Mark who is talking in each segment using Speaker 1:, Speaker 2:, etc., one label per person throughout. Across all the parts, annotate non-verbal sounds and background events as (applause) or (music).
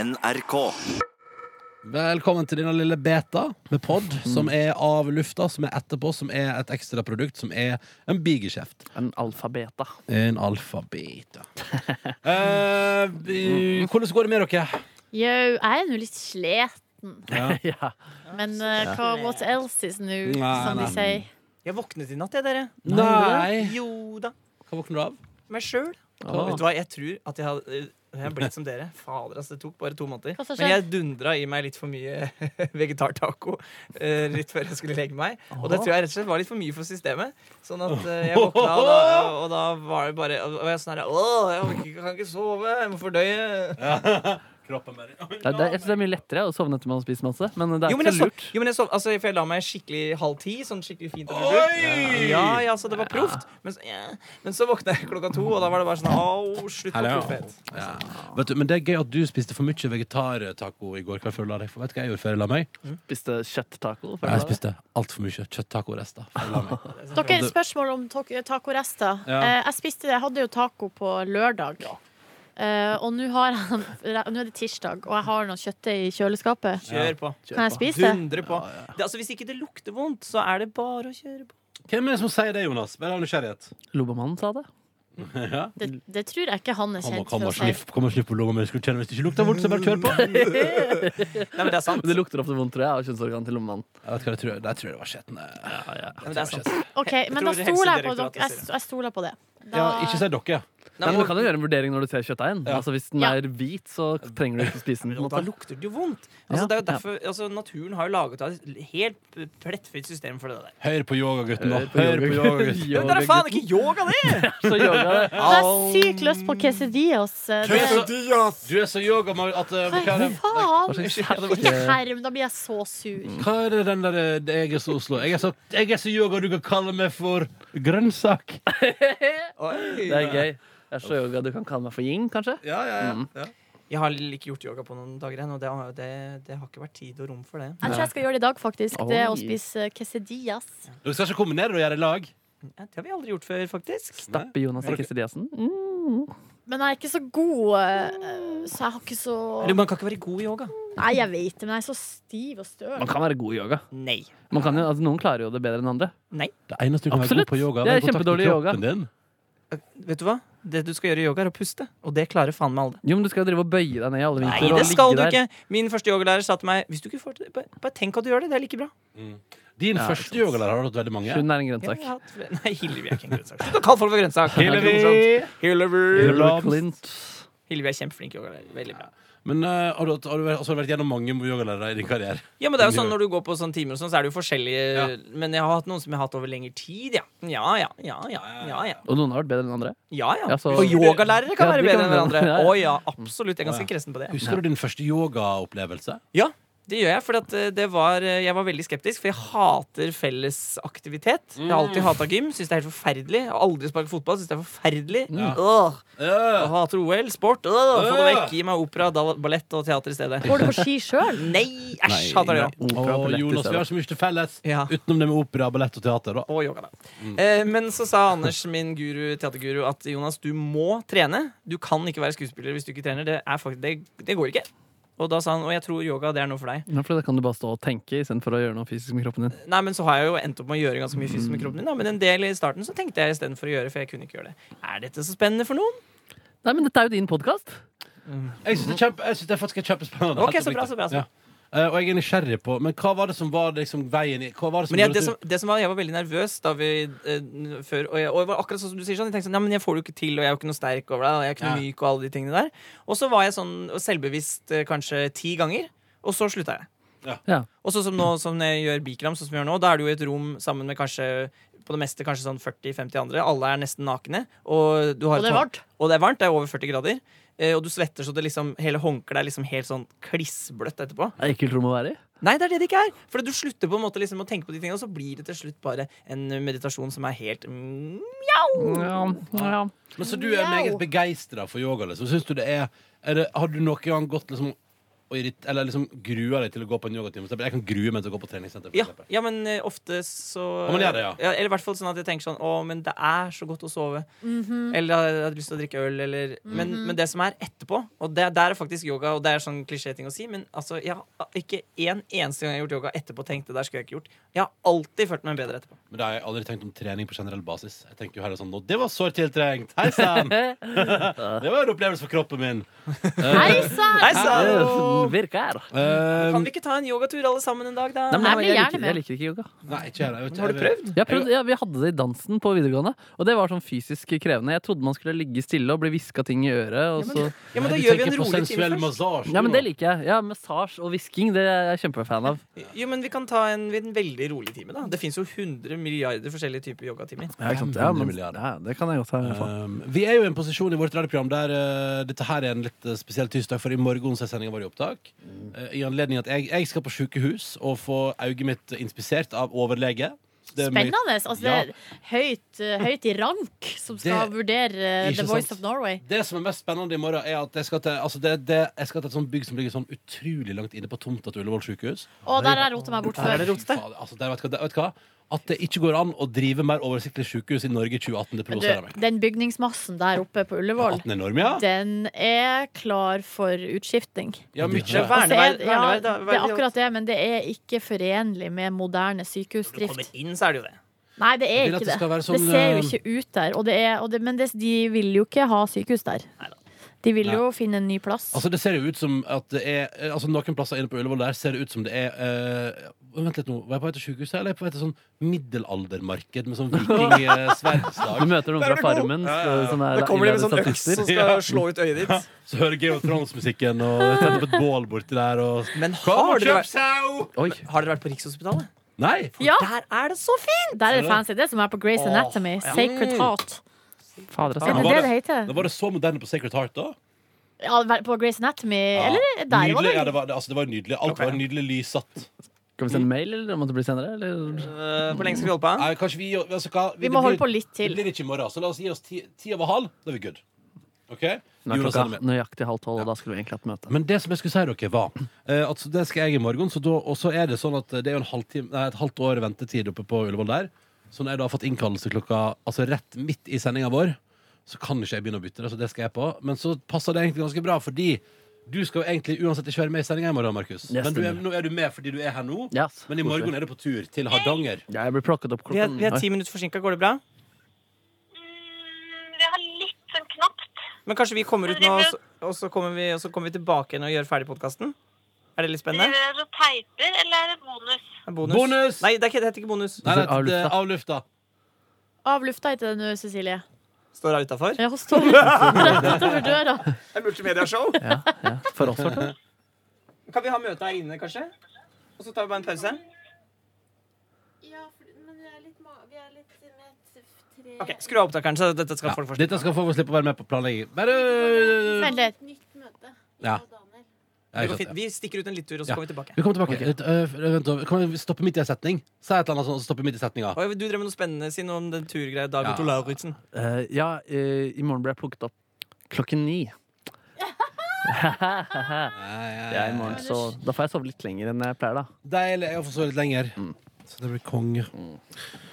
Speaker 1: NRK.
Speaker 2: Velkommen til denne lille beta med pod, som er av lufta, som er etterpå, som er et ekstra produkt, som er en bigeskjeft.
Speaker 3: En alfabeta.
Speaker 2: En
Speaker 4: (laughs)
Speaker 2: alfabeta. Eh, vi- hvordan går det med dere?
Speaker 4: Jau, jeg er nå litt sliten.
Speaker 2: Ja.
Speaker 3: (laughs) Ja.
Speaker 4: Men eh, hva what else is new,
Speaker 2: Nei,
Speaker 4: som de
Speaker 2: nei.
Speaker 4: sier.
Speaker 5: Jeg våknet i natt, jeg, dere.
Speaker 2: Nei!
Speaker 5: Jo da.
Speaker 2: Hva våkner du av?
Speaker 5: Meg sjøl.
Speaker 3: Åh.
Speaker 5: Vet du hva, jeg tror at jeg hadde jeg har blitt som dere. Fader, altså, det tok bare to måneder.
Speaker 4: Hva som
Speaker 5: Men jeg dundra i meg litt for mye (laughs) vegetartaco eh, litt før jeg skulle legge meg. Og det tror jeg rett og slett var litt for mye for systemet. Sånn at eh, jeg våkna, og da, og da var det bare Og jeg var sånn her Åh, jeg orker ikke, kan ikke sove. Jeg må fordøye.
Speaker 2: Kroppen bare
Speaker 3: Det, er- det, er- jeg synes det er mye lettere å sovne etter man har spist masse, men det er
Speaker 5: Jo, men
Speaker 3: ikke
Speaker 5: jeg
Speaker 3: så
Speaker 5: sov.
Speaker 3: lurt.
Speaker 5: Jo, men jeg sov altså, for jeg la meg skikkelig halv ti. Sånn skikkelig fint. og lurt.
Speaker 2: Oi!
Speaker 5: Ja, ja, så det var proft. Men, så- ja. men så våkna jeg klokka to, og da var det bare sånn Au, slutt å
Speaker 2: Hallo.
Speaker 5: proffhet.
Speaker 2: Ja. Vet du, men det er gøy at du spiste for mye vegetartaco i går kveld før du la deg. For vet du hva jeg gjorde før jeg la meg?
Speaker 3: Spiste kjøtttaco. før
Speaker 2: Jeg
Speaker 3: du la deg.
Speaker 2: spiste altfor mye kjøtttacorester før jeg la meg.
Speaker 4: Dere, spørsmål om tok- tacorester.
Speaker 2: Ja.
Speaker 4: Eh, Jeg spiste det, jeg hadde jo taco på lørdag. Eh, og nå har jeg- (laughs) nå er det tirsdag, og jeg har noe kjøttdeig i kjøleskapet.
Speaker 5: Kjør på.
Speaker 4: Kan jeg spise det?
Speaker 5: Dundre på. Det, altså, hvis ikke det lukter vondt, så er det bare å kjøre
Speaker 2: (laughs)
Speaker 5: på.
Speaker 2: Hvem er det som sier det, Jonas? Bare av nysgjerrighet.
Speaker 3: Lobbemannen sa det.
Speaker 2: Ja.
Speaker 4: Det, det tror jeg ikke han er
Speaker 2: Kom og
Speaker 4: kjent
Speaker 2: kom
Speaker 4: for
Speaker 2: og
Speaker 4: å si.
Speaker 2: slipp, kom og slipp på lomma mi. Skulle kjenne Hvis det ikke lukter vondt, så bare kjør
Speaker 4: (laughs)
Speaker 2: på.
Speaker 5: Nei, men det er sant.
Speaker 3: Men det lukter ofte vondt, tror jeg, av kjønnsorgan til lommemannen.
Speaker 2: Jeg vet hva jeg tror. Jeg tror det var skjetne.
Speaker 5: Nei, men det er sant.
Speaker 4: Ok, Men da
Speaker 5: tror
Speaker 4: stoler jeg på dere.
Speaker 5: Helsedirektoratet
Speaker 4: Jeg,
Speaker 5: sier det.
Speaker 4: jeg stoler på det.
Speaker 2: Ja,
Speaker 4: Da-
Speaker 2: ikke si dere.
Speaker 5: Nei,
Speaker 3: Nei, men
Speaker 5: men,
Speaker 3: Du kan jo gjøre en vurdering når du ser kjøttdeigen.
Speaker 2: Ja.
Speaker 3: Altså, hvis den
Speaker 4: Ja.
Speaker 3: er hvit, så trenger du ikke spise den. på en
Speaker 5: og da
Speaker 3: måte.
Speaker 5: lukter det jo vondt. Altså,
Speaker 3: Ja.
Speaker 5: det er jo derfor, altså, naturen har jo laget et helt plettfritt system for det der.
Speaker 2: Hør på yogagutten, da.
Speaker 3: Hør på
Speaker 2: Hør på
Speaker 3: (laughs) yoga-
Speaker 2: yogagutten.
Speaker 5: Men det er faen ikke yoga, det!
Speaker 3: Så yoga det.
Speaker 4: Da har jeg sykt lyst på quesadillas. eh,
Speaker 2: Du er
Speaker 4: det-
Speaker 2: så, du er så yogamann at eh, hva er,
Speaker 4: Hva
Speaker 2: det-
Speaker 3: Hva
Speaker 4: faen?
Speaker 3: slags
Speaker 4: Ikke
Speaker 3: herke-
Speaker 4: herm, da blir jeg så sur.
Speaker 2: hva er det den der eh, det Jeg er så Oslo. Jeg er så, jeg er så yoga du kan kalle meg for grønnsak.
Speaker 3: (laughs) Det er gøy. Jeg er så yoga. Du kan kalle meg for yin, kanskje?
Speaker 2: Ja, ja, ja.
Speaker 5: Jeg har ikke gjort yoga på noen dager ennå. Det, har- det, det har ikke vært tid og rom for det.
Speaker 4: Jeg tror jeg skal gjøre det i dag, faktisk. Det å
Speaker 3: Oi.
Speaker 4: spise quesadillas.
Speaker 2: Dere skal ikke kombinere det og gjøre i lag?
Speaker 5: Ja, Det har vi aldri gjort før, faktisk.
Speaker 3: Stappe Jonas Mm. i Kristidiasen.
Speaker 4: Men jeg er ikke så god, eh, så jeg har ikke så
Speaker 5: Eller man kan ikke være god i yoga.
Speaker 4: Nei, jeg vet det, men jeg er så stiv og støl.
Speaker 3: Man kan være god i yoga.
Speaker 5: Nei.
Speaker 3: Man kan jo, altså, noen klarer jo det bedre enn andre.
Speaker 2: Det eneste du kan være god
Speaker 3: Absolutt.
Speaker 2: på yoga,
Speaker 3: Jeg
Speaker 2: er
Speaker 3: er
Speaker 2: å kontakte
Speaker 3: kjempedårlig i yoga.
Speaker 2: kroppen din.
Speaker 5: Vet du hva? Det du skal gjøre i yoga, er å puste. Og det klarer faen meg alle.
Speaker 3: Jo, men du skal jo drive og bøye deg ned i alle
Speaker 5: Nei,
Speaker 3: vinkler.
Speaker 5: det
Speaker 3: og
Speaker 5: skal
Speaker 3: ligge der.
Speaker 5: du ikke. Min første yogalærer sa til meg Hvis du ikke får til det, bare, bare tenk at du gjør det. Det er like bra.
Speaker 2: Din
Speaker 3: Ja,
Speaker 2: første yogalærer har du hatt veldig mange.
Speaker 3: Hun er en
Speaker 5: Ja,
Speaker 3: grønnsak.
Speaker 5: jeg har hatt flere- Nei, Hillevi er ikke (laughs) en grønnsak. Slutt å kalle folk for grønnsak.
Speaker 2: Hillevi!
Speaker 5: Det er ikke morsomt. Hillevi
Speaker 2: Hillevi.
Speaker 3: Clint.
Speaker 5: Hillevi er kjempeflink yogalærer. Veldig bra.
Speaker 2: Men eh, har, du, hatt- har, du, vært- altså, har du vært gjennom mange yogalærere i din karriere?
Speaker 5: Ja, men det er jo sånn Når du går på sånne timer, og sånn, så er det jo forskjellige
Speaker 2: Ja.
Speaker 5: Men jeg har hatt noen som jeg har hatt over lengre tid, ja. Ja ja. ja, ja, ja, ja.
Speaker 3: Og noen har vært bedre enn andre.
Speaker 5: ja, ja.
Speaker 3: Ja, så-
Speaker 5: Og yogalærere kan
Speaker 3: Ja,
Speaker 5: være
Speaker 3: de kan
Speaker 5: bedre
Speaker 3: være-
Speaker 5: enn hverandre.
Speaker 3: Ja, ja.
Speaker 5: Å ja, absolutt. Jeg er ganske kresen på det.
Speaker 2: Husker du din første yogaopplevelse?
Speaker 5: Ja, det gjør jeg. For at eh, det var, eh, jeg var veldig skeptisk, for jeg hater fellesaktivitet. Jeg har alltid hata gym. Syns det er helt forferdelig. Jeg har aldri sparket fotball. Syns det er forferdelig.
Speaker 2: Ja.
Speaker 5: Åh, jeg
Speaker 2: Uh,
Speaker 5: hater OL, sport. Åh, få det
Speaker 2: Øh.
Speaker 5: vekk. Gi meg opera, dal- ballett og teater i stedet.
Speaker 4: Går du på ski sjøl?
Speaker 5: Nei, æsj, hater det.
Speaker 3: Opera på
Speaker 2: og
Speaker 3: lett i
Speaker 2: Jonas, vi
Speaker 3: stedet.
Speaker 2: har så mye til felles
Speaker 5: Ja.
Speaker 2: utenom det med opera, ballett og teater. Da.
Speaker 5: Og yoga, da. Eh, men så sa Anders, min guru, teaterguru, at Jonas, du må trene. Du kan ikke være skuespiller hvis du ikke trener. Det, er faktisk, det, det går ikke. Og da sa han og jeg tror yoga det er noe for deg.
Speaker 3: Ja, for da kan du bare stå og tenke istedenfor å gjøre noe fysisk med kroppen din.
Speaker 5: Nei, men så har jeg jo endt opp med å gjøre ganske mye fysisk med kroppen din, da. Men en del i starten så tenkte jeg istedenfor å gjøre, for jeg kunne ikke gjøre det. Er dette så spennende for noen?
Speaker 3: Nei, men dette er jo din podkast.
Speaker 2: Jeg syns det, er kjempe, jeg synes det er faktisk er kjempespennende.
Speaker 5: Ok, så bra, så bra, så
Speaker 2: Ja.
Speaker 5: bra.
Speaker 2: Eh, og jeg er nysgjerrig på Men hva var det som var liksom veien i hva var det som
Speaker 5: Men jeg,
Speaker 2: gjorde at
Speaker 5: det,
Speaker 2: du-
Speaker 5: som, det som var, jeg var veldig nervøs da vi eh, før Og jeg, og jeg var akkurat sånn som du sier sånn. Jeg tenkte sånn, nei, men jeg får det jo ikke til, og jeg er jo ikke noe sterk over deg, og jeg er ikke noe
Speaker 2: Ja.
Speaker 5: myk, og alle de tingene der. Og så var jeg sånn og selvbevisst eh, kanskje ti ganger, og så slutta jeg.
Speaker 2: Ja.
Speaker 3: Ja.
Speaker 5: Og sånn som nå som når jeg gjør bikram, sånn som jeg gjør nå, da er det jo i et rom sammen med kanskje på det meste kanskje sånn 40-50 andre. Alle er nesten nakne. Og, du
Speaker 4: Og
Speaker 5: har et
Speaker 4: det er
Speaker 5: hånd-
Speaker 4: varmt.
Speaker 5: Og det er varmt, det er over 40 grader. Eh, Og du svetter så det liksom, hele håndkleet er liksom helt sånn klissbløtt etterpå.
Speaker 3: Det er ekkelt rom å være i.
Speaker 5: Nei, det er det det ikke er! For du slutter på en måte liksom å tenke på de tingene, og så blir det til slutt bare en meditasjon som er helt mm,
Speaker 3: Ja, ja.
Speaker 2: Men Så du er
Speaker 4: Mjau.
Speaker 2: meget begeistra for yoga? Liksom. Syns du det er, er det, Har du noen gang gått liksom og irrit, eller liksom gruer deg til å gå på en yogatime. for eksempel. Jeg kan grue meg til å gå på treningssenter. for
Speaker 5: Ja,
Speaker 2: eksempel.
Speaker 5: ja, men eh, ofte så
Speaker 2: Ja, men gjør det, ja.
Speaker 5: Eller i hvert fall sånn at jeg tenker sånn Å, men det er så godt å sove. Eller jeg hadde lyst til å drikke øl, eller men, men det som er etterpå, og det, der er faktisk yoga, og det er sånn klisjéting å si, men altså, jeg har ikke en eneste gang jeg har gjort yoga etterpå tenkt det der skulle jeg ikke gjort. Jeg har alltid følt meg bedre etterpå.
Speaker 2: Men da har jeg aldri tenkt om trening på generell basis. Jeg tenker jo heller sånn, «Nå, Det var sårt tiltrengt! Hei
Speaker 5: (laughs)
Speaker 2: sann! det var en opplevelse for kroppen min.
Speaker 4: Hei sann!
Speaker 5: Nei, sa
Speaker 3: Det
Speaker 5: du.
Speaker 3: virker. Nei,
Speaker 2: Eh,
Speaker 5: Kan vi ikke ta en yogatur alle sammen en dag, da?
Speaker 4: men- Jeg
Speaker 3: nei,
Speaker 4: blir
Speaker 3: jeg,
Speaker 4: gjerne
Speaker 3: liker,
Speaker 4: med.
Speaker 3: jeg liker ikke yoga.
Speaker 2: nei, ikke jeg, jeg vet ikke.
Speaker 5: Har du prøvd?
Speaker 3: Jeg prøvde, ja, vi hadde det i dansen på videregående, og det var sånn fysisk krevende. Jeg trodde man skulle ligge stille og bli hviska ting i øret. Og så...
Speaker 5: Ja, men da
Speaker 2: Nei, du
Speaker 5: gjør vi en
Speaker 2: tenker på
Speaker 5: rolig
Speaker 2: sensuell
Speaker 5: time først.
Speaker 2: massasje.
Speaker 3: Ja, men det liker jeg. Ja, Massasje og hvisking det er jeg kjempefan av.
Speaker 5: Jo, men vi kan ta en, en veldig rolig time, da. Det fins jo 100 milliarder forskjellige typer yogatimer.
Speaker 3: Ja, ikke sant? Ja,
Speaker 2: 500
Speaker 3: men,
Speaker 2: milliarder.
Speaker 3: ja, det kan jeg godt ha. i hvert fall.
Speaker 2: Um, vi er jo i en posisjon i vårt radioprogram der eh, dette her er en litt eh, spesiell tirsdag, for i morgen så er sendinga vår i opptak. Eh, I anledning at jeg, jeg skal på sykehus og få øyet mitt inspisert av overlege. Så det er mye-
Speaker 4: Spennende. Altså, det er høyt, eh, høyt i rank som skal
Speaker 2: Det-
Speaker 4: vurdere eh,
Speaker 2: Ikke
Speaker 4: The Voice
Speaker 2: sant?
Speaker 4: of Norway.
Speaker 2: Det som er mest spennende i morgen, er at jeg skal til, altså det, det, jeg skal til et sånt bygg som ligger sånn utrolig langt inne på tomta til Ullevål sykehus.
Speaker 4: Å, der har jeg rota meg bort
Speaker 5: Der
Speaker 4: før.
Speaker 5: er det rotete.
Speaker 2: Fader, Altså, der, vet, du hva, der, vet du hva? At det ikke går an å drive mer oversiktlig sykehus i Norge i 2018, det
Speaker 4: Men
Speaker 2: provoserer
Speaker 4: du,
Speaker 2: meg.
Speaker 4: Den bygningsmassen der oppe på Ullevål,
Speaker 2: At den er enorm, ja?
Speaker 4: den er klar for utskifting.
Speaker 2: Ja, mye.
Speaker 5: Ja, verneverd,
Speaker 4: Altså, ja,
Speaker 5: verneverd, da.
Speaker 4: det er akkurat det, men det er ikke forenlig med moderne
Speaker 5: Når du kommer
Speaker 4: sykehusdrift.
Speaker 5: inn, så er det jo det.
Speaker 4: Nei, det
Speaker 2: Jeg
Speaker 4: er
Speaker 2: vil at
Speaker 4: ikke
Speaker 2: det
Speaker 4: det.
Speaker 2: skal være
Speaker 4: Det
Speaker 2: sånn,
Speaker 4: ser jo
Speaker 2: eh,
Speaker 4: ikke ut der. Og det er, og det, men det, de vil jo ikke ha sykehus der. De vil jo finne en ny plass.
Speaker 2: Altså det ser jo ut som at det er eh, Altså Noen plasser inne på Ullevål der ser det ut som det er eh, Vent litt nå, var jeg på vei til sykehuset, eller er jeg på vei til sånn middelaldermarked med sånn
Speaker 3: (laughs) Du
Speaker 2: vikingsverdslag?
Speaker 3: møter noen
Speaker 5: Der er
Speaker 3: fra
Speaker 5: det god.
Speaker 3: Farmen så- som er
Speaker 5: Da kommer de med
Speaker 3: innlærde
Speaker 5: sånn øks
Speaker 3: statister.
Speaker 5: som skal slå ut øyet ditt.
Speaker 2: Så hører Game of Thrones-musikken og tenner på et bål borti der og
Speaker 5: (laughs) Men
Speaker 2: Kom
Speaker 5: har
Speaker 2: og kjøp
Speaker 5: dere, vært,
Speaker 2: sau!
Speaker 3: Oi,
Speaker 5: har dere vært på Rikshospitalet?
Speaker 2: Nei!
Speaker 4: Ja,
Speaker 5: Der er det så fint!
Speaker 4: der er det fancy. Det er som er på Grace
Speaker 5: Åh,
Speaker 4: Anatomy.
Speaker 5: ja.
Speaker 4: Sacred Heart.
Speaker 3: fader,
Speaker 2: var
Speaker 3: altså.
Speaker 4: Er det det
Speaker 2: Mm. det-
Speaker 4: det heter?
Speaker 2: Da var det så moderne på Sacred Heart, da.
Speaker 4: Ja, på Grace Anatomy? Eller der var
Speaker 2: nydelig, ja,
Speaker 4: det
Speaker 2: det, var, det- altså, det var nydelig. Alt var nydelig lyssatt.
Speaker 3: Skal vi sende mail, eller måtte det bli senere? Eller?
Speaker 5: Hvor lenge skal vi holde på?
Speaker 2: Nei, kanskje vi altså, hva,
Speaker 4: Vi
Speaker 2: det
Speaker 4: må
Speaker 2: blir-
Speaker 4: holde på litt
Speaker 2: Det
Speaker 4: til.
Speaker 2: blir ikke i morgen, så la oss gi oss ti, ti over halv. Da er vi good. OK?
Speaker 3: Nå er
Speaker 2: Jonas
Speaker 3: klokka
Speaker 2: Helmer.
Speaker 3: nøyaktig halv tolv, og da skulle vi egentlig hatt møte.
Speaker 2: Men det som jeg skulle si dere var eh, at det skal jeg i morgen, så da, og så er det sånn at det er jo en halvtime, nei, et halvt år ventetid oppe på Ullevål der. Så når jeg da har fått innkallelse klokka altså rett midt i sendinga vår, så kan ikke jeg begynne å bytte det, så det skal jeg på. Men så passer det egentlig ganske bra, fordi du skal jo egentlig uansett ikke være med i sendinga i morgen, Markus.
Speaker 3: Ja,
Speaker 2: Men du er,
Speaker 3: stemmer.
Speaker 2: nå er du med fordi du er her nå.
Speaker 3: Ja, ass.
Speaker 2: Men i morgen er du på tur til Hardanger.
Speaker 3: Ja, jeg blir plukket opp
Speaker 5: Vi er,
Speaker 3: klokken
Speaker 5: vi er
Speaker 3: Oi.
Speaker 5: ti minutter forsinka. Går det bra?
Speaker 1: Mm, vi har litt sånn knapt.
Speaker 5: Men kanskje vi kommer ut nå, og så, og så, kommer, vi, og så kommer vi tilbake igjen og gjør ferdig podkasten? Er det litt spennende?
Speaker 1: Driver dere og teiper, eller er det bonus?
Speaker 5: Er Bonus.
Speaker 2: Bonus!
Speaker 5: Nei, det, er ikke, det heter ikke bonus.
Speaker 2: Nei, nei,
Speaker 3: Av
Speaker 2: det er
Speaker 3: lufta.
Speaker 2: av lufta.
Speaker 4: Av lufta heter det nå, Cecilie.
Speaker 5: Står hun utafor?
Speaker 4: Ja, hun står (laughs) rett utenfor døra.
Speaker 5: Det er multimediashow.
Speaker 3: Ja, ja. (laughs) For oss, i hvert fall.
Speaker 5: Kan vi ha møte her inne, kanskje? Og så tar vi bare en pause?
Speaker 6: Ja, for, men vi er litt, ma- vi er litt med t- tre
Speaker 5: Ok, Skru av opptakeren, så dette skal
Speaker 2: Ja,
Speaker 5: folk forstå.
Speaker 2: dette skal folk få slippe å være med på planlegging. Bare
Speaker 4: Vent litt.
Speaker 6: Et nytt møte.
Speaker 2: Ja.
Speaker 6: Og Daniel.
Speaker 2: Ja,
Speaker 5: Det
Speaker 2: ikke
Speaker 5: går
Speaker 2: sant,
Speaker 5: fint. Vi stikker ut en liten tur, og
Speaker 2: Ja.
Speaker 5: så kommer vi tilbake.
Speaker 2: Vi kommer tilbake. Litt, øh, vent, da. kan vi stoppe midt i en setning? Si et eller annet sånt, og stoppe midt i setninga.
Speaker 5: Og du drev med noe spennende, si noe om den turgreia. David
Speaker 2: Ja.
Speaker 5: ja. Lauritzen.
Speaker 3: Eh, ja, eh, i morgen blir jeg plukket opp klokken
Speaker 2: (laughs)
Speaker 3: ni. ja, i morgen, så da får jeg sove litt lenger enn jeg pleier, da.
Speaker 2: Deilig. Jeg får sove litt lenger. Så det blir konge.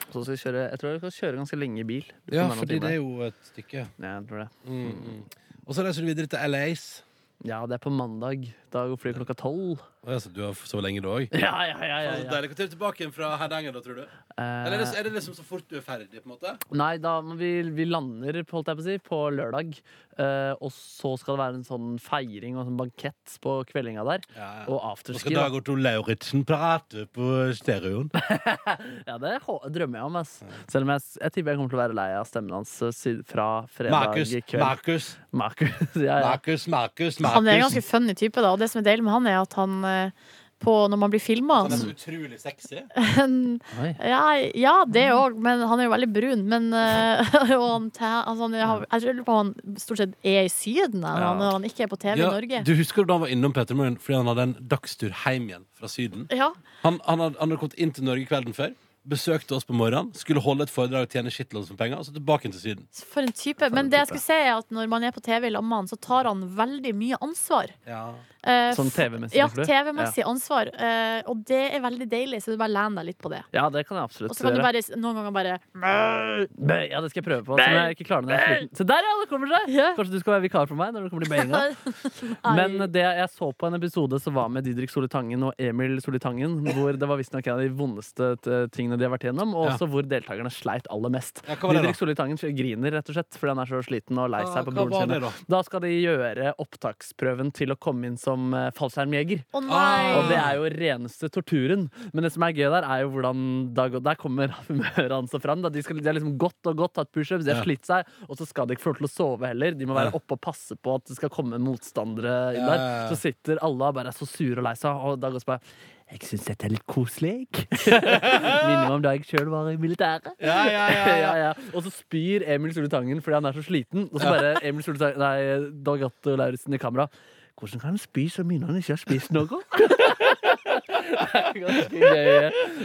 Speaker 3: Så skal vi kjøre, jeg tror jeg skal kjøre ganske lenge i bil.
Speaker 2: Ja,
Speaker 3: Nærmere
Speaker 2: fordi
Speaker 3: en
Speaker 2: det
Speaker 3: time.
Speaker 2: er jo et stykke. Mm,
Speaker 3: ja, jeg tror det.
Speaker 2: Og så reiser du videre til LAs.
Speaker 3: ja, det er på mandag. Da går flyet klokka tolv.
Speaker 2: Å, ja, så du har sovet lenge, du òg?
Speaker 3: Ja, ja, ja, ja, ja.
Speaker 2: Deilig. Når er du tilbake igjen fra Hardanger, da, tror du? Eller er det,
Speaker 3: Eh,
Speaker 2: er det liksom så fort du er ferdig, på en måte?
Speaker 3: nei, da, men vi, vi lander på, holdt jeg på, å si, på lørdag. Eh, og så skal det være en sånn feiring og en sånn bankett på kveldinga der.
Speaker 2: Ja, ja.
Speaker 3: Og
Speaker 2: Nå
Speaker 3: afterski.
Speaker 2: skal
Speaker 3: da.
Speaker 2: Dag Otto Lauritzen prate på stereoen.
Speaker 3: Ja, det hå- drømmer jeg om. Ass. Selv om jeg, s- jeg tipper jeg kommer til å være lei av stemmen hans eh, siden- fra fredag
Speaker 2: Markus,
Speaker 3: kveld.
Speaker 2: Markus,
Speaker 3: Markus, (laughs) ja, ja.
Speaker 2: Markus, Markus.
Speaker 4: Han er en ganske
Speaker 2: Markus.
Speaker 4: funny type, da. Og det som er deilig med han, er at han eh, på, når man blir filma
Speaker 2: Han er så utrolig
Speaker 4: (laughs)
Speaker 2: sexy.
Speaker 3: Oi.
Speaker 4: ja, ja, det òg, men han er jo veldig brun. Men, eh, (laughs) og han, tæ- altså, han, har- jeg tror jeg lurer på om han stort sett er i Syden jeg, når han, når han ikke er på TV i Norge.
Speaker 2: du husker da han var innom Peter Morgen fordi han hadde en dagstur hjem igjen fra Syden?
Speaker 4: Ja,
Speaker 2: Han, han, hadde, han hadde kommet inn til Norge kvelden før. besøkte oss på morgenen, skulle holde et foredrag og tjene shitloads med penger, og så tilbake til Syden.
Speaker 4: For en type. Men det jeg skulle si er at når man er på TV i lag med han, så tar han veldig mye ansvar. Eh,
Speaker 3: Sånn TV-messig.
Speaker 4: ja,
Speaker 3: tenker du?
Speaker 4: TV-messig ansvar. Eh, og det er veldig deilig, så du bare lener deg litt på det.
Speaker 3: Ja. ja, det kan jeg absolutt
Speaker 4: Og så kan du
Speaker 3: gjøre.
Speaker 4: bare noen ganger bare
Speaker 3: Bøy, Ja, det skal jeg prøve på. Som jeg ikke klarer når jeg er sliten. Se der, ja! Det kommer seg!
Speaker 4: Ja.
Speaker 3: Kanskje du skal være vikar for meg når det kommer til bøyinga.
Speaker 4: (laughs)
Speaker 3: Men det jeg så på en episode som var med Didrik Solitangen og Emil Solitangen, hvor det var visstnok en av de vondeste eh, tingene de har vært igjennom, og
Speaker 2: Ja.
Speaker 3: også hvor deltakerne sleit aller mest.
Speaker 2: Ja, hva var det da?
Speaker 3: Didrik Solitangen griner rett og slett fordi han er så sliten og lei
Speaker 2: Ah,
Speaker 3: seg på
Speaker 2: hva var
Speaker 3: broren
Speaker 2: det
Speaker 3: sin.
Speaker 2: da?
Speaker 3: Da skal de gjøre opptaksprøven til å komme inn som eh, fallskjermjeger.
Speaker 4: Å nei!
Speaker 3: Og det er jo reneste torturen. Men det som er gøy der, er jo hvordan Dag og Der kommer (laughs) humøret hans og fram. Da. De, skal, de har liksom gått og gått, tatt pushups, de har
Speaker 2: Ja.
Speaker 3: slitt seg, og så skal de ikke få lov til å sove heller. De må være
Speaker 2: Ja.
Speaker 3: oppe og passe på at det skal komme motstandere inn
Speaker 2: Ja,
Speaker 3: der.
Speaker 2: ja, ja.
Speaker 3: Så sitter alle og bare er så sure og lei seg, og Dag også bare jeg syns dette er litt koselig. (laughs) jeg». Minner meg om da jeg sjøl var i militæret.
Speaker 2: Ja, ja, ja, ja.
Speaker 3: (laughs) ja, ja. Og så spyr Emil Soletangen fordi han er så sliten. Og så bare Emil Soletangen Nei, Dag Otto Lauritzen i kamera. Hvordan kan han spy så mye når han ikke har spist
Speaker 2: (laughs)
Speaker 3: noe? Ganske gøy,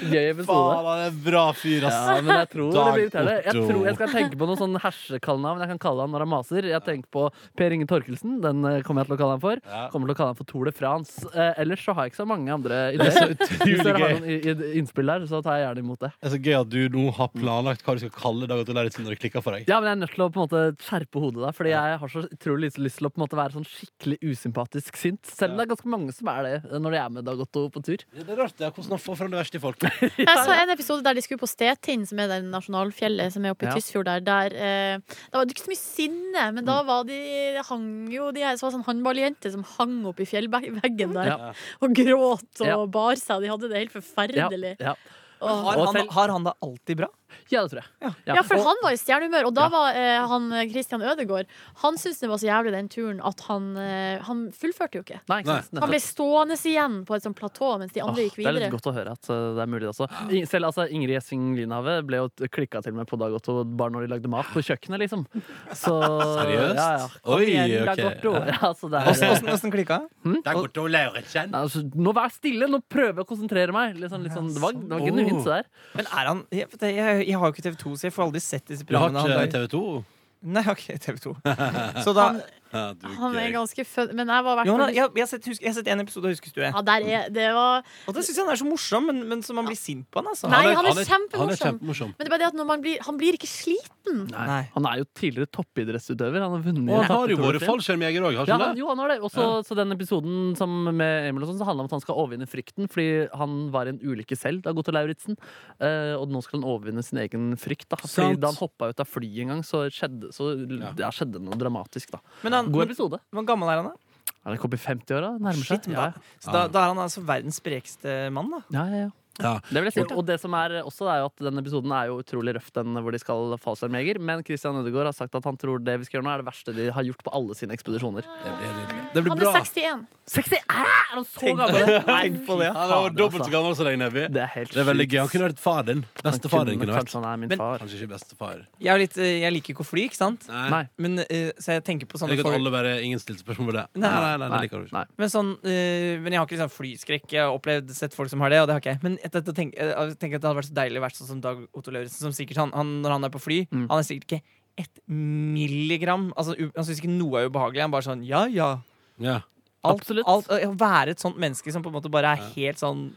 Speaker 3: gøy episode.
Speaker 2: Faen, han er en bra fyr, ass.
Speaker 3: Ja, men jeg tror det
Speaker 2: Dag
Speaker 3: blir irriterende. Jeg
Speaker 2: Otto.
Speaker 3: tror jeg skal tenke på noe sånn hersekallenavn jeg kan kalle han når han maser. Jeg tenker på Per Inge Torkelsen. Den eh, kommer jeg til å kalle han for.
Speaker 2: Ja.
Speaker 3: Kommer til å kalle han for Tour de France. Eh, ellers så har jeg ikke så mange andre
Speaker 2: Det er så
Speaker 3: ideer. Hvis
Speaker 2: utrolig
Speaker 3: dere har
Speaker 2: gøy.
Speaker 3: noen i- i- innspill der, så tar jeg gjerne imot det.
Speaker 2: Det er så gøy at du nå har planlagt hva du skal kalle Dag Otto Lauritzen når det klikker for deg.
Speaker 3: Ja, men jeg er nødt til å på en måte skjerpe hodet der, fordi jeg har så utrolig lyst- lyst til å på en måte være sånn skikkelig usympatisk sint. Selv om det er ganske mange som er det eh, når de er med Dag Otto på tur.
Speaker 2: Det er rart det, er hvordan han får fram det verste i
Speaker 3: (laughs)
Speaker 2: folk.
Speaker 4: Jeg så en episode der de skulle på Stetind, som er det nasjonalfjellet som er oppe i
Speaker 3: Ja.
Speaker 4: Tysfjord der. der eh, det var ikke så mye sinne, men
Speaker 3: Mm.
Speaker 4: da var de, hang jo de her, så var det sånn håndballjenter som hang opp i fjellveggen der
Speaker 3: Ja.
Speaker 4: og gråt og
Speaker 3: Ja.
Speaker 4: bar seg. og De hadde det helt
Speaker 3: Ja,
Speaker 4: forferdelig.
Speaker 3: ja.
Speaker 4: Åh.
Speaker 5: Har
Speaker 3: Og
Speaker 5: han,
Speaker 3: selv-
Speaker 5: har han det alltid bra?
Speaker 3: ja, det tror jeg. Ja.
Speaker 4: Ja, for
Speaker 3: Og-
Speaker 4: han var i stjernehumør, og da
Speaker 3: Ja.
Speaker 4: var eh, han eh, Christian Ødegaard Han syntes det var så jævlig den turen at han, eh, han fullførte jo ikke.
Speaker 3: Nei, ikke sant?
Speaker 4: Han ble stående igjen på et sånt platå mens de andre
Speaker 3: Åh,
Speaker 4: gikk
Speaker 3: det er
Speaker 4: videre.
Speaker 3: litt godt å høre at uh, det er mulig. Altså. I- Selv altså, Ingrid Gjessing Linhave ble jo klikka til med på Dag Otto bare når de lagde mat på kjøkkenet, liksom. Så,
Speaker 2: Seriøst?
Speaker 3: Ja, ja. Kom
Speaker 2: Oi,
Speaker 3: igjen, Dag
Speaker 2: ok.
Speaker 3: Otto. Ja, altså, det er,
Speaker 5: Åssen åssen klikka?
Speaker 2: Dag Otto Lauritzen.
Speaker 3: Nei, altså, nå vær stille! Nå prøver jeg å konsentrere meg! Litt sånn, litt sånn, det var, det var genuint, det der.
Speaker 5: Men er han Jeg, jeg, jeg har jo ikke TV2, så jeg får aldri sett disse
Speaker 2: Du har
Speaker 5: programmene.
Speaker 2: ikke
Speaker 5: han lager.
Speaker 2: TV 2?
Speaker 5: Nei, jeg har ikke
Speaker 2: (laughs)
Speaker 5: TV2. Så da
Speaker 2: Ja, du er
Speaker 4: Han er
Speaker 2: gøy.
Speaker 4: ganske født Men jeg var
Speaker 5: jo, han
Speaker 4: hvertfall-
Speaker 5: har- jeg, jeg, har sett, husk, jeg har sett en episode av Huskestue.
Speaker 4: Ja, der er Det var
Speaker 5: Og det syns jeg han er så morsom, men, men så man blir sint på han, altså.
Speaker 4: Nei,
Speaker 2: Han
Speaker 4: han er
Speaker 2: han Han er
Speaker 4: kjempemorsom.
Speaker 2: kjempemorsom.
Speaker 4: Men det er bare det at når man blir, han blir ikke sliten.
Speaker 3: Nei.
Speaker 5: Nei.
Speaker 3: Han er jo tidligere toppidrettsutøver. Han har
Speaker 2: Og
Speaker 3: vunnet
Speaker 2: han har jo
Speaker 3: toppidrettsutøver.
Speaker 2: vært fallskjermjeger òg, har
Speaker 3: Ja,
Speaker 2: ikke
Speaker 3: han,
Speaker 2: han det?
Speaker 3: jo, han har det. Også, Så den episoden som med Emil og sånn, så handler det om at han skal overvinne frykten, fordi han var i en ulykke selv, da Gotte Lauritzen. Eh, og nå skal han overvinne sin egen frykt. Da. Fordi
Speaker 2: Sant.
Speaker 3: da han hoppa ut av flyet en gang, så skjedde, så, ja, skjedde noe dramatisk. Da.
Speaker 5: Men han,
Speaker 3: God
Speaker 5: men,
Speaker 3: episode.
Speaker 5: hvor gammel er han, da?
Speaker 3: Er han kommet i 50-åra? Nærmer seg.
Speaker 5: Shit, men
Speaker 3: Ja,
Speaker 5: da, så da, da er han altså verdens sprekeste mann, da.
Speaker 3: ja, ja, ja.
Speaker 2: Ja.
Speaker 3: Det vil jeg si. Og det som er også er jo at denne episoden er jo utrolig røff, den hvor de skal fallskjermjeger. Men Christian Ødegaard har sagt at han tror det vi skal gjøre nå, er det verste de har gjort på alle sine ekspedisjoner.
Speaker 2: Det blir nydelig. Det blir
Speaker 4: Han er
Speaker 2: bra.
Speaker 4: 61.
Speaker 3: 60 Æ, Ah, Er han så gammel?
Speaker 5: Tenk på det.
Speaker 2: Han var dobbelt så
Speaker 3: altså.
Speaker 2: gammel som deg, Nebby.
Speaker 3: Det er helt
Speaker 2: Det er veldig
Speaker 3: sjukt.
Speaker 2: gøy. Han kunne vært far din.
Speaker 3: Han
Speaker 2: Bestefar din
Speaker 3: kunne-
Speaker 2: kunne vært.
Speaker 3: Kanskje han er min
Speaker 5: Men-
Speaker 3: far.
Speaker 2: Kanskje ikke bestefar.
Speaker 5: Jeg, er jo litt, eh, jeg liker ikke å fly, ikke sant?
Speaker 3: Nei.
Speaker 5: Men eh, så jeg tenker på
Speaker 2: Jeg
Speaker 5: sånne
Speaker 2: liker at
Speaker 5: folk
Speaker 2: alle bare ingen stilte spørsmål ved det.
Speaker 5: Nei,
Speaker 2: nei, det
Speaker 3: Nei,
Speaker 2: liker du ikke.
Speaker 3: nei.
Speaker 5: men, sånn, eh, men jeg har ikke liksom flyskrekk. Jeg har opplevd sett folk som har det, og det har ikke jeg. Men jeg, jeg, tenker, eh, jeg tenker at det hadde vært så deilig å være sånn som Dag Otto Lauritzen, som sikkert han, han, når han er på fly
Speaker 3: Mm.
Speaker 5: Han er sikkert ikke ett milligram Altså, u, Han syns ikke noe er ubehagelig. Han bare sånn ja, ja.
Speaker 2: Ja.
Speaker 5: Alt,
Speaker 3: Absolutt.
Speaker 5: alt, eh, å være et sånt menneske som på en måte bare er helt sånn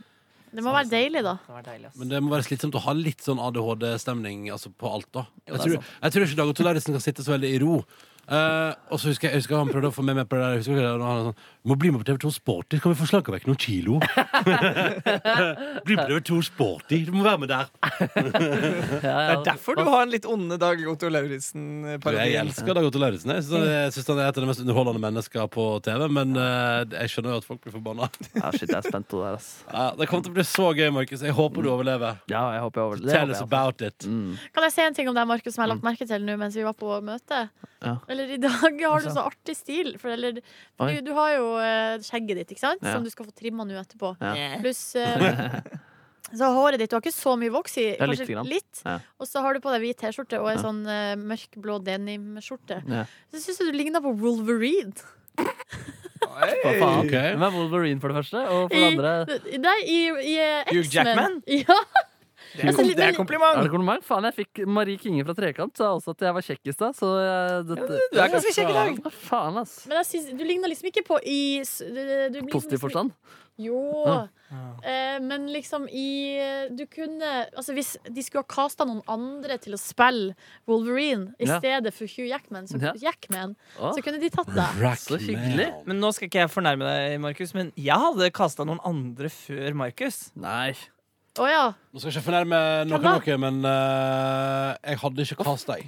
Speaker 4: Det må være deilig, da.
Speaker 5: Det var deilig, ass.
Speaker 2: Men det må være slitsomt å ha litt sånn ADHD-stemning altså på alt, da.
Speaker 5: Jo, det
Speaker 2: Jeg
Speaker 5: er
Speaker 2: tror, jeg tror ikke Dag Otto Lauritzen kan sitte så veldig i ro. Eh, og så husker jeg, jeg husker han prøvde å få med meg på det der. Jeg Husker ikke det, og han var sånn, må bli med på TV2 Sporty, så kan vi få slanka vekk noen kilo. (laughs) bli med på TV2 Sporty, du må være med der.
Speaker 5: det er derfor du har en litt onde Dag Otto Lauritzen-parodi.
Speaker 2: jeg elsker Dag Otto Lauritzen. Jeg syns han, jeg synes han er et av de mest underholdende mennesker på TV, men eh, jeg skjønner jo at folk blir forbanna.
Speaker 3: Ja, shit, jeg er spent på det der, ass.
Speaker 2: Ja, det kommer til å bli så gøy, Markus. Jeg håper du overlever.
Speaker 3: Ja, jeg håper jeg over det.
Speaker 2: Tell us
Speaker 3: håper jeg,
Speaker 2: about it.
Speaker 3: altså. Mm.
Speaker 4: Kan jeg si en ting om deg, Markus, som jeg har lagt merke til nå mens vi var på møte?
Speaker 3: Ja. Altså.
Speaker 4: Eller i dag har du så artig stil. For, eller,
Speaker 3: Oi.
Speaker 4: du, du har jo eh, skjegget ditt, ikke sant?
Speaker 3: Ja.
Speaker 4: Som du skal få trimma nå etterpå.
Speaker 3: Ja.
Speaker 4: Pluss
Speaker 3: (laughs)
Speaker 4: eh, så håret ditt. Du har ikke så mye voks i.
Speaker 3: Ja,
Speaker 4: Kanskje
Speaker 3: lite grann.
Speaker 4: litt.
Speaker 3: Ja.
Speaker 4: Og så har du på deg hvit T-skjorte og ei
Speaker 3: Ja.
Speaker 4: sånn eh, mørkblå denimskjorte.
Speaker 3: Ja.
Speaker 4: Så syns jeg du ligner på Wolverine.
Speaker 3: Hva faen?
Speaker 2: Ok.
Speaker 3: Hvem er Wolverine, for det første? Og for det andre
Speaker 4: I, nei, i, i eh,
Speaker 5: Hugh
Speaker 4: X-Men.
Speaker 5: Jackman?
Speaker 4: (laughs) Ja.
Speaker 5: Det er, kom, det er
Speaker 3: Er
Speaker 5: kompliment!
Speaker 3: det kompliment? Faen, jeg fikk Marie Kinge fra Trekant sa også at jeg var kjekk i stad, så jeg, dette,
Speaker 5: Du er ganske kjekk i dag.
Speaker 3: Hva faen, ass.
Speaker 4: Men jeg synes, du ligner liksom ikke på i s- du, du- du blir
Speaker 3: Positiv
Speaker 4: liksom-
Speaker 3: forstand.
Speaker 4: Jo.
Speaker 3: Ja.
Speaker 4: Eh, men liksom i Du kunne Altså Hvis de skulle ha casta noen andre til å spille Wolverine i
Speaker 3: Ja.
Speaker 4: stedet for Hugh Jackman, så,
Speaker 3: Ja. Ah.
Speaker 4: Jackman,
Speaker 3: Å,
Speaker 4: så kunne de tatt deg.
Speaker 3: så hyggelig.
Speaker 5: Men nå skal ikke jeg fornærme deg, Markus, men jeg hadde kasta noen andre før Markus.
Speaker 3: Nei.
Speaker 4: Å ja.
Speaker 2: Nå skal jeg ikke fornærme noen
Speaker 4: da?
Speaker 2: av dere, men eh, jeg hadde ikke cast deg.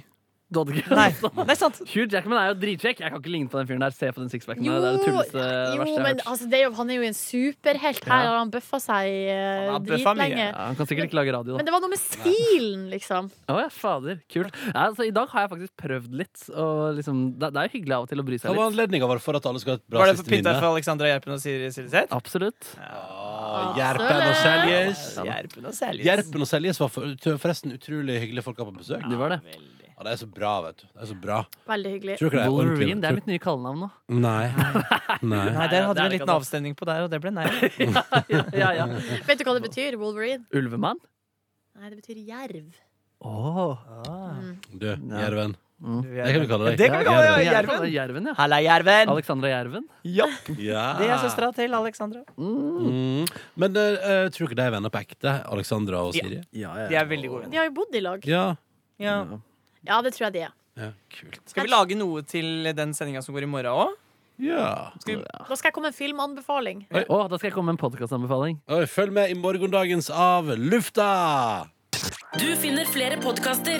Speaker 3: Du hadde ikke
Speaker 5: (laughs) Nei, det er sant.
Speaker 3: (laughs) Hugh Jackman er jo dritkjekk. Jeg kan ikke ligne på den fyren der. Se på den sixpacken.
Speaker 4: Jo,
Speaker 3: der. Det er det tulleste
Speaker 4: jo
Speaker 3: verste jeg har
Speaker 4: men
Speaker 3: hørt.
Speaker 4: altså, det er jo, han er jo en superhelt. Her
Speaker 3: Ja.
Speaker 4: har han bøffa seg eh,
Speaker 5: Han har bøffa mye.
Speaker 4: dritlenge.
Speaker 3: Ja, han kan sikkert ikke lage radio, da.
Speaker 4: Men det var noe med stilen, liksom.
Speaker 3: Å ja, fader. Kult. Ja, altså, I dag har jeg faktisk prøvd litt. Og liksom, det, det er jo hyggelig av og til å bry
Speaker 2: Hva
Speaker 3: seg
Speaker 2: var
Speaker 3: litt.
Speaker 2: anledninga vår for at alle skal ha et bra
Speaker 5: Var det
Speaker 2: siste
Speaker 5: pynta
Speaker 2: minne?
Speaker 5: for Alexandra Gjerpen og Siri Silseth?
Speaker 3: Absolutt.
Speaker 2: Ah, Gjerpen og Seljes.
Speaker 5: Gjerpen og Seljes.
Speaker 2: Gjerpen og Seljes var for, forresten utrolig hyggelige folk her på besøk.
Speaker 3: De var det.
Speaker 5: Veldig.
Speaker 2: Ja, det er så bra, vet du. Det er så bra.
Speaker 4: Veldig hyggelig.
Speaker 2: Tror dere det er ordentlig?
Speaker 3: Wolverine, det er mitt nye kallenavn nå. (laughs)
Speaker 2: Tror- Nei. Nei.
Speaker 5: Nei,
Speaker 3: Nei, det
Speaker 5: der hadde vi
Speaker 3: er
Speaker 5: en
Speaker 3: det ikke,
Speaker 5: liten
Speaker 3: altså.
Speaker 5: avstemning på der, og det ble nei.
Speaker 3: ja, ja.
Speaker 4: Vet du hva det betyr? Wolverine?
Speaker 3: Ulvemann?
Speaker 4: Nei, det betyr jerv.
Speaker 3: Åh
Speaker 2: Du, Gjerven.
Speaker 3: Mm.
Speaker 5: Du,
Speaker 2: Det kan vi kalle deg.
Speaker 5: Ja, Mm. det kan vi kalle deg.
Speaker 3: Jerven.
Speaker 5: Jerven.
Speaker 3: Jerven, ja.
Speaker 5: Halla, Jerven!
Speaker 3: Alexandra Jerven.
Speaker 5: Ja,
Speaker 2: Ja.
Speaker 5: det er søstera til Alexandra.
Speaker 2: Mm. Men eh, tror dere de er venner på ekte, Alexandra og
Speaker 5: Ja.
Speaker 2: Siri?
Speaker 5: De er veldig gode venner.
Speaker 4: De har jo bodd i lag.
Speaker 2: Ja.
Speaker 5: Ja.
Speaker 4: Ja, det tror jeg de er.
Speaker 2: ja. Kult.
Speaker 5: Skal vi lage noe til den sendinga som går i morgen òg?
Speaker 2: Ja.
Speaker 4: Da skal jeg komme med en filmanbefaling.
Speaker 3: Åh, da skal jeg komme med en podkastanbefaling.
Speaker 2: Oi, følg med i morgendagens Av lufta!
Speaker 7: Du finner flere podkaster